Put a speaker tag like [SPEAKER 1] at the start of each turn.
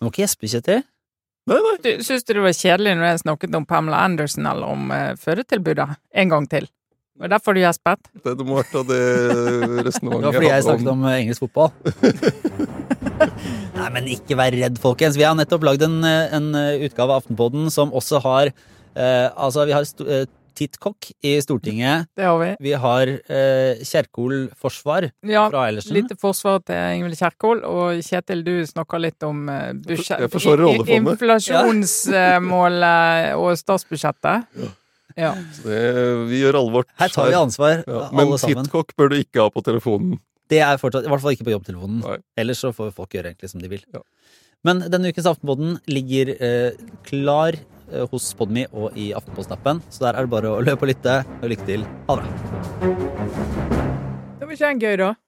[SPEAKER 1] Du må ikke gjespe, Kjetil.
[SPEAKER 2] Du, syns du det var kjedelig når jeg snakket om Pamela Anderson eller om eh, fødetilbudet en gang til? Var det derfor du gjespet?
[SPEAKER 3] Det må ha vært av det
[SPEAKER 1] Det
[SPEAKER 3] resonnementet
[SPEAKER 1] var fordi jeg snakket om eh, engelsk fotball. Nei, men ikke vær redd, folkens. Vi har nettopp lagd en, eh, en eh, utgave av Aftenpodden som også har eh, Altså, vi har sto- eh, Tittkokk i Stortinget.
[SPEAKER 2] Det har vi.
[SPEAKER 1] Vi har eh, Kjerkol forsvar
[SPEAKER 2] Ja,
[SPEAKER 1] fra Eilertsen.
[SPEAKER 2] Lite forsvar til Ingvild Kjerkol. Og Kjetil, du snakker litt om eh, budsjett-
[SPEAKER 3] Jeg forsvarer
[SPEAKER 2] i- i-
[SPEAKER 3] oljefondet.
[SPEAKER 2] Inflasjonsmålet og statsbudsjettet. Ja.
[SPEAKER 3] Det- Vi gjør alvor.
[SPEAKER 1] Her tar vi ansvar, eh,
[SPEAKER 3] Ja, Men
[SPEAKER 1] alle sammen.
[SPEAKER 3] tittkokk bør du ikke ha på telefonen.
[SPEAKER 1] Det er fortsatt, i hvert fall ikke på jobbtelefonen.
[SPEAKER 3] Nei.
[SPEAKER 1] Ellers så får folk gjøre egentlig som de vil.
[SPEAKER 3] Ja.
[SPEAKER 1] Men denne ukens Aftenpodden ligger eh, klar eh, hos Podme og i Aftenposten-appen, så der er det bare å løpe og lytte. Og lykke til. Ha det bra.
[SPEAKER 2] Det var ikke en gøy, da?